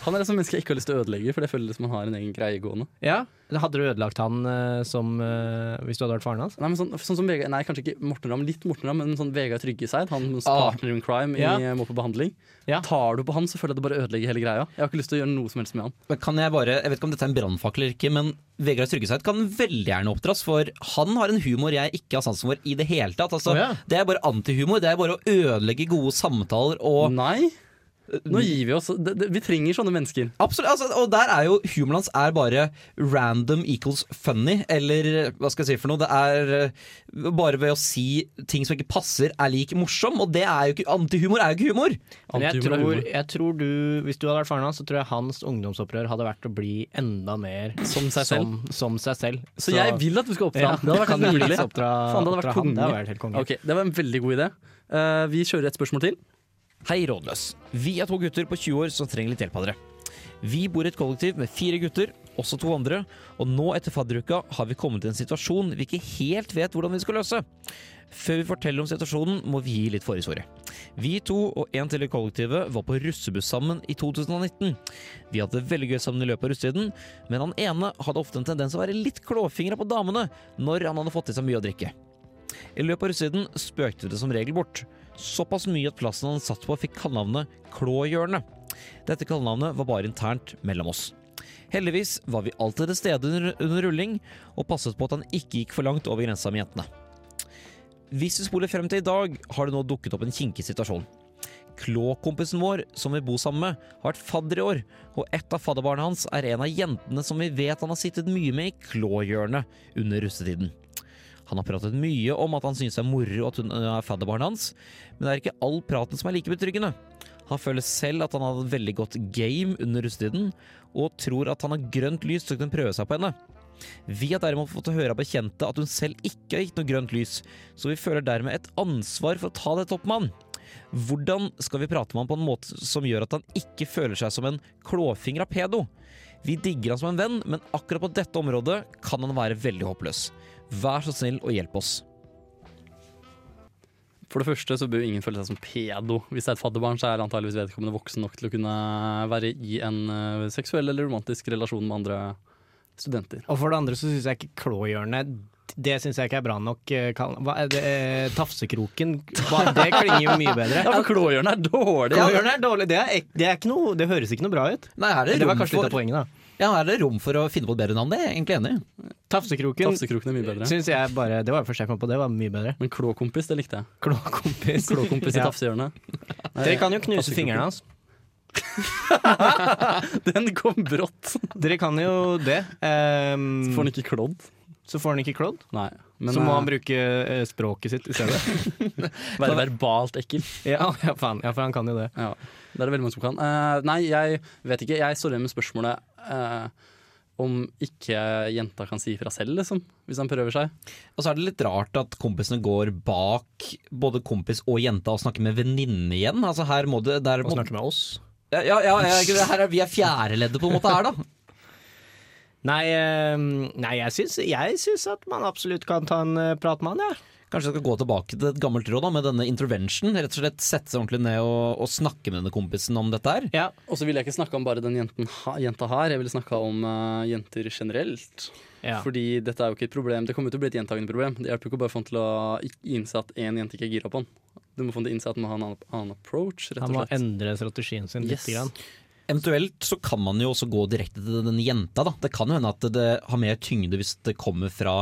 Speaker 1: Han er et sånt menneske jeg ikke har lyst til å ødelegge, for det føles som han har en egen greie gående.
Speaker 4: Ja, Hadde du ødelagt han eh, som eh, hvis du hadde vært faren hans?
Speaker 1: Nei, men sånn, sånn som Vegard, nei, kanskje ikke Morten Ramm, litt Morten Ramm, men sånn Vegard Tryggeseid, han hans
Speaker 5: Ah.
Speaker 1: partner in crime
Speaker 4: Ja.
Speaker 1: i eh, Må på behandling.
Speaker 4: Ja.
Speaker 1: Tar du på han, så føler jeg det bare ødelegger hele greia. Jeg har ikke lyst til å gjøre noe som helst med han.
Speaker 5: Men kan jeg bare, jeg vet ikke om dette er en brannfakkel eller ikke, men Vegard Tryggeseid kan veldig gjerne oppdras, for han har en humor jeg ikke har sansen for i det hele tatt. Altså,
Speaker 4: Å, ja.
Speaker 5: Det er bare antihumor. Det er bare å ødelegge gode samtaler og
Speaker 1: Nei,
Speaker 4: Eh,
Speaker 1: nå gir vi oss. Det, det, vi trenger sånne mennesker.
Speaker 5: Absolutt, altså, og der er jo humoren hans er bare random equals funny, eller hva skal jeg si for noe. Det er eh, bare ved å si ting som ikke passer, er lik morsom, og det er jo ikke antihumor er jo ikke humor.
Speaker 4: Men jeg
Speaker 1: Antihumor er
Speaker 4: tror,
Speaker 1: humor.
Speaker 4: jeg tror du, Hvis du hadde vært faren hans, så tror jeg hans ungdomsopprør hadde vært å bli enda mer
Speaker 1: Som seg
Speaker 4: som, som seg selv.
Speaker 1: Så, jeg vil at du skal oppdra
Speaker 4: Ja,
Speaker 1: han. Det hadde vært
Speaker 4: kan du
Speaker 1: nydelig.
Speaker 4: liksom oppdra,
Speaker 1: Faen, det hadde vært
Speaker 4: oppdra han? Det hadde
Speaker 1: konge.
Speaker 4: vært helt konge.
Speaker 1: Ok, det var en veldig god idé. Eh, vi kjører et spørsmål til.
Speaker 10: Hei, Rådløs. Vi er to gutter på 20 år som trenger litt hjelp av dere. Vi bor i et kollektiv med fire gutter, også to andre, og nå etter fadderuka har vi kommet i en situasjon vi ikke helt vet hvordan vi skal løse. Før vi forteller om situasjonen, må vi gi litt forhistorie. Vi to og en til i kollektivet var på russebuss sammen i 2019. Vi hadde det veldig gøy sammen i løpet av russetiden, men han ene hadde ofte en tendens til å være litt klåfingra på damene når han hadde fått i seg mye å drikke. I løpet av russetiden spøkte det som regel bort. Såpass mye at plassen han satt på fikk kallenavnet Klåhjørnet. Dette kallenavnet var bare internt mellom oss. Heldigvis var vi alltid til stede under, under rulling, og passet på at han ikke gikk for langt over grensa med jentene. Hvis vi spoler frem til i dag, har det nå dukket opp en kinkig situasjon. Klå-kompisen vår, som vi bor sammen med, har vært fadder i år, og et av fadderbarna hans er en av jentene som vi vet han har sittet mye med i klåhjørnet under russetiden. Han har pratet mye om at han synes det er moro at hun eh, er fadderbarnet hans, men det er ikke all praten som er like betryggende. Han føler selv at han hadde et veldig godt game under russetiden, og tror at han har grønt lys til å kunne prøve seg på henne. Vi har derimot fått høre av bekjente at hun selv ikke har gitt noe grønt lys, så vi føler dermed et ansvar for å ta dette opp med han. Hvordan skal vi prate med han på en måte som gjør at han ikke føler seg som en klåfingra pedo? Vi digger han som en venn, men akkurat på dette området kan han være veldig håpløs. Vær så snill og hjelp oss.
Speaker 1: For det første så bør jo ingen føle seg som pedo. Hvis det er et fadderbarn, så er antageligvis vedkommende voksen nok til å kunne være i en eh, seksuell eller romantisk relasjon med andre studenter.
Speaker 4: Og for det andre så syns jeg ikke klåhjørnet det syns jeg ikke er bra nok. eh, kall- Hva er det, eh, tafsekroken Hva- Det klinger jo mye bedre.
Speaker 1: Ja, for klåhjørnet er dårlig! Ja.
Speaker 4: Klåhjørnet er dårlig. Det, er, ek- det, er ikke noe, det høres ikke noe bra ut.
Speaker 5: Nei, er det,
Speaker 4: Det var
Speaker 5: rom
Speaker 4: kanskje litt av
Speaker 5: for,
Speaker 4: poenget, da.
Speaker 5: ja, er det rom for å finne på et bedre navn? Det er jeg egentlig enig i.
Speaker 4: Tafsekroken
Speaker 1: Tafsekroken er mye bedre.
Speaker 4: syns jeg bare Det var det første jeg kom på. Det var mye bedre.
Speaker 1: Men klåkompis, det likte jeg.
Speaker 4: Klåkompis.
Speaker 1: Klåkompis i
Speaker 4: Ja.
Speaker 1: tafsehjørnet.
Speaker 4: Dere kan jo knuse
Speaker 1: Tafsekroken.
Speaker 4: fingrene hans.
Speaker 1: Den kom brått!
Speaker 4: Dere kan jo det. Ehm,
Speaker 1: Får den ikke klodd?
Speaker 4: så får han ikke klådd.
Speaker 1: Nei.
Speaker 4: Så må han bruke eh, språket sitt i stedet.
Speaker 1: være verbalt ekkel.
Speaker 4: ja, ja, faen. ja, for han kan jo det.
Speaker 1: Ja, det er det veldig mange som kan. Eh, nei, jeg vet ikke. Jeg står igjen med spørsmålet eh, om ikke jenta kan si ifra selv, liksom. Hvis han prøver seg.
Speaker 5: Og så er det litt rart at kompisene går bak både kompis og jenta og snakker med venninne igjen. Altså her må det, der må,
Speaker 4: Og snakke med oss.
Speaker 5: ja, ja, ja, ikke det, her er, Vi er fjerdeleddet på en måte her, da.
Speaker 4: Nei, eh, nei jeg, syns, jeg syns at man absolutt kan ta en eh, prat med han, jeg. Ja.
Speaker 5: Kanskje jeg skal gå tilbake til et gammelt råd da, med denne intervention. Rett og slett Sette seg ordentlig ned og, og snakke med denne kompisen om dette her.
Speaker 4: Ja.
Speaker 1: Og så ville jeg ikke snakka om bare den jenten ha, jenta her, jeg ville snakka om eh, jenter generelt.
Speaker 4: Ja.
Speaker 1: Fordi dette er jo ikke et problem. Det kommer til å bli et gjentagende problem. Det hjelper jo ikke å bare få han til å ik- innse at én jente ikke er gira på han. Du må få han til å innse at han må ha en annen, annen approach, rett
Speaker 4: Han
Speaker 1: og
Speaker 4: må
Speaker 1: slett.
Speaker 4: endre strategien sin
Speaker 1: Yes.
Speaker 4: lite grann.
Speaker 5: Eventuelt så kan man jo også gå direkte til den jenta, da. Det kan jo hende at det har mer tyngde hvis det kommer fra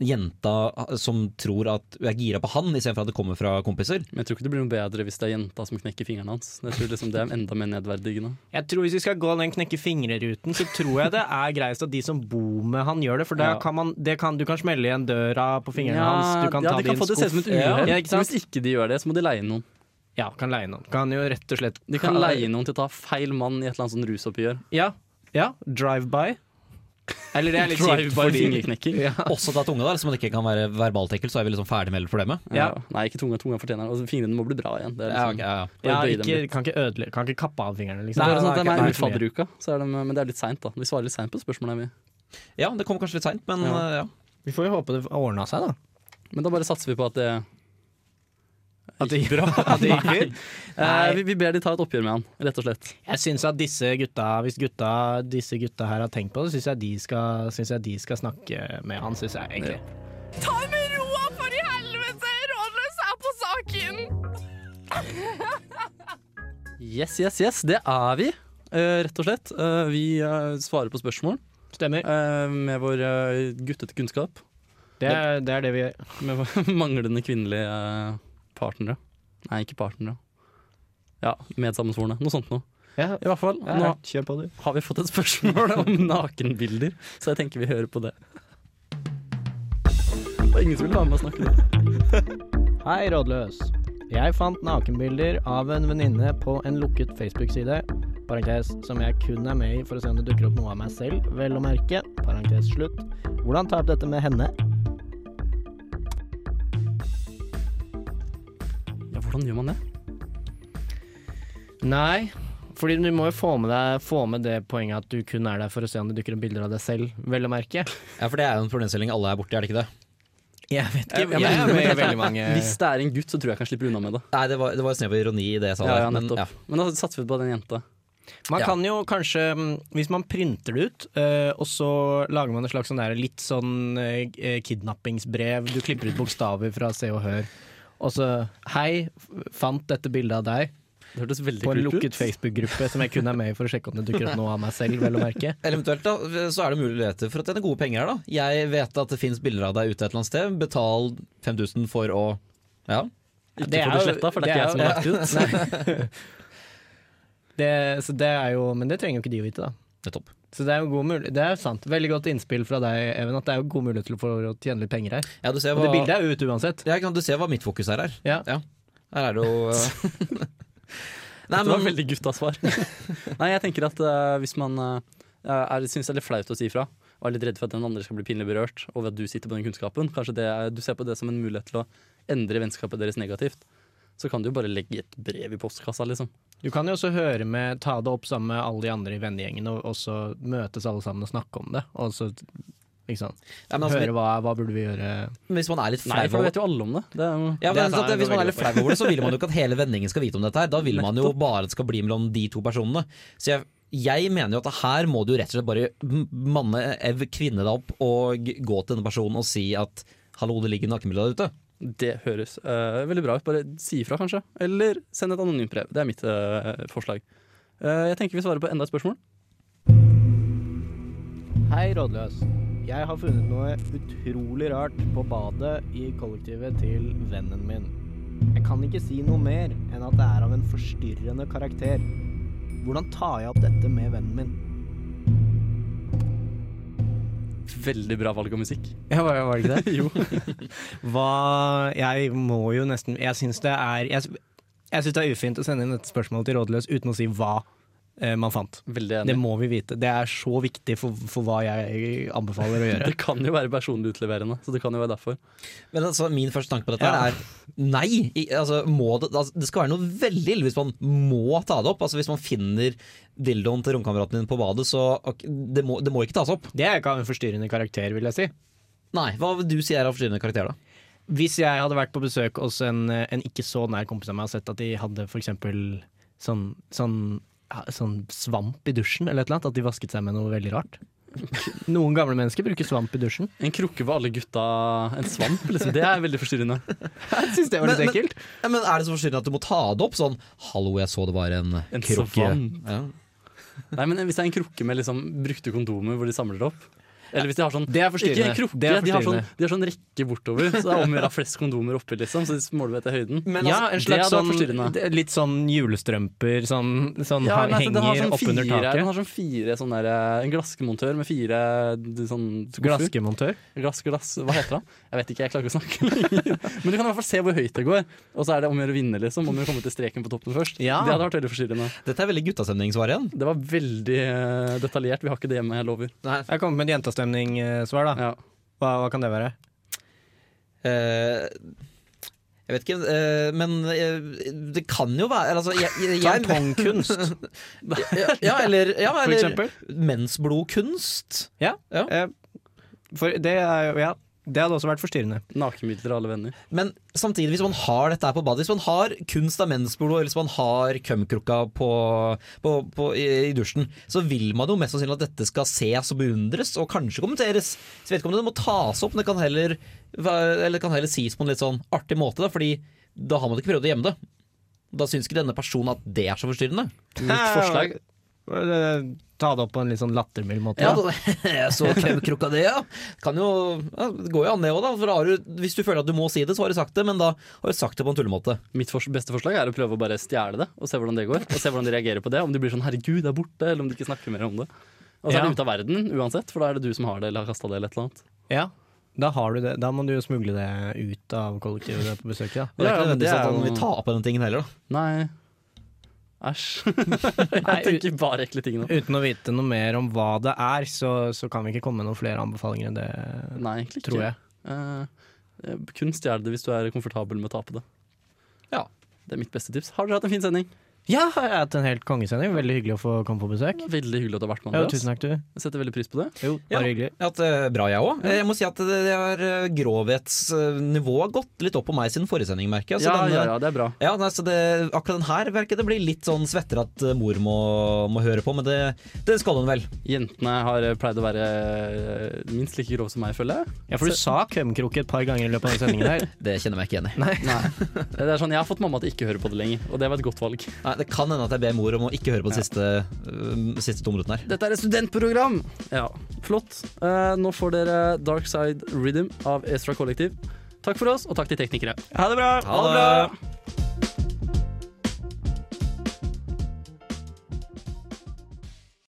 Speaker 5: jenta eh, som tror at hun er gira på han, istedenfor at det kommer fra kompiser.
Speaker 1: Men jeg tror ikke det blir noe bedre hvis det er jenta som knekker fingrene hans. Jeg tror liksom det er enda mer nedverdigende.
Speaker 4: Jeg tror Hvis vi skal gå den knekke fingreruten, så tror jeg det er greiest at de som bor med han, gjør det. For da
Speaker 1: Ja.
Speaker 4: kan man, det kan, du kan smelle igjen døra på fingrene
Speaker 1: Ja,
Speaker 4: hans, du kan
Speaker 1: ja,
Speaker 4: ta
Speaker 1: de kan
Speaker 4: det i en
Speaker 1: få det til å se ut som
Speaker 4: skuff.
Speaker 1: et uhell.
Speaker 4: Ja, ikke
Speaker 1: Så
Speaker 4: sant?
Speaker 1: hvis ikke de gjør det, så må de leie inn noen.
Speaker 4: Ja, kan leie noen. Kan jo rett og slett
Speaker 1: De kan leie noen til å ta feil mann i et eller annet sånn rusoppgjør.
Speaker 4: Ja. ja Drive-by. Eller det er litt kjipt
Speaker 1: Drive-by
Speaker 4: fordi
Speaker 1: fingerknekking.
Speaker 4: ja.
Speaker 5: Også ta tunga der, så man liksom, ikke kan være verbalt ekkel, så er vi liksom ferdig med hele problemet.
Speaker 1: Ja. Nei, ikke tunga. Tunga fortjener det. Og så fingrene må bli bra igjen. Det er
Speaker 5: Ja,
Speaker 1: liksom,
Speaker 5: ok, ja, ja.
Speaker 1: bare
Speaker 4: ja,
Speaker 1: bøye dem
Speaker 4: ikke,
Speaker 1: litt.
Speaker 4: kan, ikke ødele, kan ikke kappe av fingrene, liksom.
Speaker 1: Så det er
Speaker 4: Bare
Speaker 1: sånn at de er
Speaker 4: det er
Speaker 1: i
Speaker 4: ikke mye.
Speaker 1: fadderuka, så er de, men det er litt seint, da. Vi svarer litt seint på spørsmålene. Vi.
Speaker 5: Ja, det kom kanskje litt seint, men
Speaker 1: Ja.
Speaker 5: eh, ja.
Speaker 4: Vi får jo håpe det ordna seg, da.
Speaker 1: Men da bare satser vi på at det
Speaker 4: At det gikk bra. At det gikk fint.
Speaker 1: eh, vi, vi ber de ta et oppgjør med han, rett og slett.
Speaker 4: Jeg syns at disse gutta, hvis gutta, disse gutta her har tenkt på det, syns jeg, de skal- synes jeg de skal snakke med han, syns jeg egentlig.
Speaker 11: Ta det med roa, for i helvete! Rådløs er på saken!
Speaker 1: Yes, yes, yes. Det er vi, eh, rett og slett. Eh, vi eh, svarer på spørsmål
Speaker 4: Stemmer.
Speaker 1: eh, med vår eh, guttete kunnskap.
Speaker 4: Det er det, er det vi gjør.
Speaker 1: Med vår manglende kvinnelige eh, partnere. Nei, ikke partnere. Ja, medsammensvorne. Noe sånt noe.
Speaker 4: Ja,
Speaker 1: I hvert fall. Nå
Speaker 4: ja, kjør på, du.
Speaker 1: har vi fått et spørsmål om nakenbilder, så jeg tenker vi hører på det. Det var ingen som ville være med og snakke nå.
Speaker 4: Hei, rådløs. Jeg fant nakenbilder av en venninne på en lukket Facebook-side, parentes, som jeg kun er med i for å se om det dukker opp noe av meg selv, vel å merke, parentes slutt. Hvordan tar dette med henne?
Speaker 1: Ja, hvordan gjør man det?
Speaker 4: Nei, fordi du må jo få med, deg, få med det poenget at du kun er der for å se om det dukker opp bilder av deg selv, vel å merke.
Speaker 5: ja, for det er jo en problemstilling alle er borti, er det ikke det? Jeg vet
Speaker 4: Jeg- jeg-
Speaker 5: jeg er med i veldig mange
Speaker 4: Eh.
Speaker 1: Hvis det er en gutt, så tror jeg jeg kan slippe unna med det.
Speaker 5: Nei, det var, det var snev av ironi i det jeg sa.
Speaker 1: Ja,
Speaker 5: der,
Speaker 1: ja,
Speaker 5: men
Speaker 1: nettopp.
Speaker 5: ja.
Speaker 1: Men da satser vi på den jenta.
Speaker 4: Man
Speaker 5: Ja.
Speaker 4: kan jo kanskje, mm, hvis man printer det ut, eh, og så lager man et slags sånn der, litt sånn eh, kidnappingsbrev, du klipper ut bokstaver fra Se og Hør, og så Hei, f- fant dette bildet av deg
Speaker 1: Det hørtes veldig
Speaker 4: på en
Speaker 1: kult
Speaker 4: lukket
Speaker 1: ut.
Speaker 4: Facebook-gruppe som jeg kun er med i for å sjekke om det dukker opp noe av meg selv, vel å merke.
Speaker 5: Eventuelt da, så er det muligheter for å tjene gode penger. her, da Jeg vet at det fins bilder av deg ute et eller annet sted. Betal 5000 for å Ja.
Speaker 1: Ikke
Speaker 4: Det er
Speaker 1: for det
Speaker 4: jo-
Speaker 1: sletta, for det er
Speaker 4: det
Speaker 1: ikke jeg
Speaker 4: er
Speaker 1: som har lagt det ut.
Speaker 4: Det, så det er jo, men det trenger jo ikke de å vite, da.
Speaker 5: Nettopp.
Speaker 4: Så det er jo god mul det er jo sant. Veldig godt innspill fra deg, Even, at det er jo god mulighet til å få å tjene litt penger her.
Speaker 5: Ja, du ser
Speaker 4: Og
Speaker 5: hva,
Speaker 4: det bildet er jo ute uansett.
Speaker 5: ja, ikke sant, du ser hva mitt fokus er her.
Speaker 4: Ja.
Speaker 5: Her er det jo eh, Nei,
Speaker 1: Det var
Speaker 5: men
Speaker 1: veldig guttasvar. Nei, jeg tenker at eh, hvis man eh, er, synes det er litt flaut å si ifra, og er litt redd for at den andre skal bli pinlig berørt over at du sitter på den kunnskapen, kanskje det er, du ser på det som en mulighet til å endre vennskapet deres negativt, så kan du jo bare legge et brev i postkassa, liksom.
Speaker 4: Du kan jo også høre med, ta det opp sammen med alle de andre i vennegjengen, og, og så møtes alle sammen og snakke om det. Og så liksom,
Speaker 5: Ja, men altså,
Speaker 4: høre hva, hva burde vi gjøre.
Speaker 5: hvis man er litt
Speaker 1: Nei,
Speaker 5: flau
Speaker 1: for da
Speaker 5: over
Speaker 1: vet jo alle om det. det er, jo-
Speaker 5: ja,
Speaker 4: Det er
Speaker 5: men,
Speaker 4: sant,
Speaker 5: sant,
Speaker 4: det
Speaker 5: Hvis
Speaker 4: går
Speaker 5: man er
Speaker 4: veldig
Speaker 5: litt flau over det, så vil man jo ikke at hele vendingen skal vite om dette. her Da vil man jo bare at det skal bli mellom de to personene. Så jeg, jeg mener jo at her må du rett og slett bare m- manne, ev, kvinne deg opp og gå til denne personen og si at Hallo, det ligger nakenbilder der ute.
Speaker 1: det høres eh, veldig bra ut. Bare si ifra, kanskje. Eller send et anonymt brev. Det er mitt eh, forslag. Eh, jeg tenker vi svarer på enda et spørsmål.
Speaker 7: Hei, rådløs. Jeg har funnet noe utrolig rart på badet i kollektivet til vennen min. Jeg kan ikke si noe mer enn at det er av en forstyrrende karakter. Hvordan tar jeg opp dette med vennen min?
Speaker 1: Veldig bra valg av musikk.
Speaker 4: Ja, var, var det ikke det? jo. Hva Jeg må jo nesten Jeg syns det er Jeg, jeg synes det er ufint å sende inn et spørsmål til Rådløs uten å si hva eh, man fant.
Speaker 1: Veldig enig.
Speaker 4: Det må vi vite. Det er så viktig for, for hva jeg anbefaler å gjøre.
Speaker 1: Det kan jo være personlig utleverende, så det kan jo være derfor.
Speaker 5: Men altså, Min første tanke på dette
Speaker 4: Ja.
Speaker 5: her er nei. I, altså, må det, altså, det skal være noe veldig ille hvis man må ta det opp. Altså, Hvis man finner dildoen til romkameraten din på badet, så ok, det, må, det må ikke tas opp.
Speaker 4: Det er ikke av en forstyrrende karakter, vil jeg si.
Speaker 5: Nei, Hva vil du si er av forstyrrende karakter, da?
Speaker 4: Hvis jeg hadde vært på besøk hos en, en ikke så nær kompis av meg og sett at de hadde for eksempel sånn, sånn, ja, sånn svamp i dusjen, eller et eller annet, at de vasket seg med noe veldig rart. Noen gamle mennesker bruker svamp i dusjen.
Speaker 1: En krukke for alle gutta, en svamp, liksom. Det er veldig forstyrrende.
Speaker 4: Jeg synes det var litt
Speaker 5: Men- men-
Speaker 4: ekkelt.
Speaker 5: Ja, men Er det så forstyrrende at du må ta det opp? Sånn 'hallo, jeg så det var en,
Speaker 1: En
Speaker 5: krukke'.
Speaker 1: svamp.
Speaker 5: Ja.
Speaker 1: Nei, men Hvis det er en krukke med liksom brukte kondomer hvor de samler det opp Eller hvis de har sånn
Speaker 4: Det er
Speaker 1: Ikke
Speaker 4: forstyrrende.
Speaker 1: en krukke,
Speaker 4: Det er
Speaker 1: de har sånn,
Speaker 4: forstyrrende.
Speaker 1: de har sånn rekke bortover, så det er om å gjøre å ha flest kondomer oppi, liksom. Så måler vi etter høyden.
Speaker 4: ja,
Speaker 1: altså,
Speaker 4: en
Speaker 1: det
Speaker 4: slags
Speaker 1: hadde vært
Speaker 4: sånn,
Speaker 1: forstyrrende.
Speaker 4: det er litt sånn julestrømper, sånn, sånn
Speaker 1: Ja,
Speaker 4: ha-
Speaker 1: men altså, den har
Speaker 4: henger
Speaker 1: sånn
Speaker 4: oppunder
Speaker 1: fire- Den
Speaker 4: taket.
Speaker 1: har sånn fire sånn der, eh, En glassmontør med fire d- sånn skuffer.
Speaker 4: Glaskemontør.
Speaker 1: Glass, glass, hva heter det? Jeg vet ikke, jeg klarer ikke å snakke lenger. Men du kan i hvert fall se hvor høyt det går. Og så er det om å gjøre å vinne, liksom. Om å komme til streken på toppen først.
Speaker 4: Ja.
Speaker 1: Det hadde vært veldig forstyrrende.
Speaker 5: Dette er veldig guttastemningssvar igjen.
Speaker 1: Det var veldig eh, detaljert. Vi har ikke det hjemme, jeg lover.
Speaker 4: Jeg kommer med et jentastemning-svar, da.
Speaker 1: Ja.
Speaker 4: Hva, hva kan det være?
Speaker 5: Eh, jeg vet ikke, eh, men eh, det kan jo være altså, jeg, jeg, jeg,
Speaker 4: Tangtongkunst,
Speaker 5: ja, ja, eller, ja,
Speaker 4: for
Speaker 5: eller
Speaker 4: eksempel.
Speaker 5: mensblodkunst.
Speaker 4: Ja.
Speaker 5: Ja.
Speaker 4: eh, For det, er, jo- ja, det hadde også vært forstyrrende.
Speaker 1: Nakenbilder av alle venner.
Speaker 5: Men samtidig, hvis man har dette her på badet, hvis man har kunst av mensblod, eller hvis man har kømkrukka på, på, på, i, i dusjen, så vil man jo mest sannsynlig at dette skal ses og beundres, og kanskje kommenteres. Så jeg vet ikke om det må tas opp, men det kan heller, væ- eller kan heller sies på en litt sånn artig måte, da, fordi da har man ikke prøvd å gjemme det. Da syns ikke denne personen at det er så forstyrrende.
Speaker 1: Mitt forslag
Speaker 4: Eh, Ta det opp på en litt sånn lattermild måte.
Speaker 5: Ja,
Speaker 4: da.
Speaker 5: da- så kømkrukka det, ja. Kan jo, ja. Det går jo an, det òg, da. For da har du, hvis du føler at du må si det, så har du sagt det, men da har du sagt det på en tullemåte.
Speaker 1: Mitt fors beste forslag er å prøve å bare stjele det, og se hvordan det går. Og se hvordan de reagerer på det. Om de blir sånn 'herregud, det er borte', eller om de ikke snakker mer om det. Og så er
Speaker 4: Ja.
Speaker 1: det ute av verden uansett, for da er det du som har det, eller har kasta det, eller et eller annet.
Speaker 4: Ja. Da har du det. Da må du jo smugle det ut av kollektivet du er på besøk i. da.
Speaker 5: Og det er
Speaker 1: Ja, ja,
Speaker 5: ikke
Speaker 1: men det
Speaker 5: nødvendigvis at
Speaker 1: er
Speaker 5: han
Speaker 1: jo-
Speaker 5: vil ta på den tingen heller, da.
Speaker 1: Nei. Æsj. Jeg tenker bare ekle ting nå.
Speaker 4: Uten å vite noe mer om hva det er, så, så kan vi ikke komme med noen flere anbefalinger enn det,
Speaker 1: Nei, egentlig ikke.
Speaker 4: tror jeg.
Speaker 1: Eh, eh, kun stjel det hvis du er komfortabel med å tape det.
Speaker 5: Ja.
Speaker 1: Det er mitt beste tips. Har dere hatt en fin sending?
Speaker 7: Ja, jeg har hatt en helt kongesending. Veldig hyggelig å få komme på besøk.
Speaker 1: Veldig hyggelig at du har vært med,
Speaker 7: Jo,
Speaker 1: Andreas.
Speaker 7: tusen takk, du.
Speaker 1: Jeg setter veldig pris på det.
Speaker 7: Jo,
Speaker 5: Ja.
Speaker 7: bare hyggelig.
Speaker 5: Jeg har hatt det bra, jeg òg. Jeg må si at det det er eh, grovhetsnivået har gått litt opp på meg siden forrige sending, merker jeg. Så
Speaker 1: Ja,
Speaker 5: den, eh,
Speaker 1: ja, ja, det er bra.
Speaker 5: Ja, nei, så det, akkurat den her verket det blir litt sånn svetter at eh, mor må, må høre på, men det, det skal hun vel.
Speaker 1: Jentene har eh, pleid å være eh, minst like grove som meg, føler jeg.
Speaker 4: Ja, for du sa kømkroke et par ganger i løpet av den sendingen her.
Speaker 5: Det kjenner jeg meg ikke igjen i.
Speaker 1: Nei. Det er sånn, Jeg har fått mamma til ikke å høre på det lenger, og det var et godt valg.
Speaker 5: Nei, det kan hende at jeg ber mor om å ikke høre på de siste, eh, siste to minuttene her.
Speaker 1: Dette er et studentprogram! Ja, flott. Eh, nå får dere Dark Side Rhythm av Ezra Kollektiv. Takk for oss, og takk til teknikere.
Speaker 5: Ha det bra!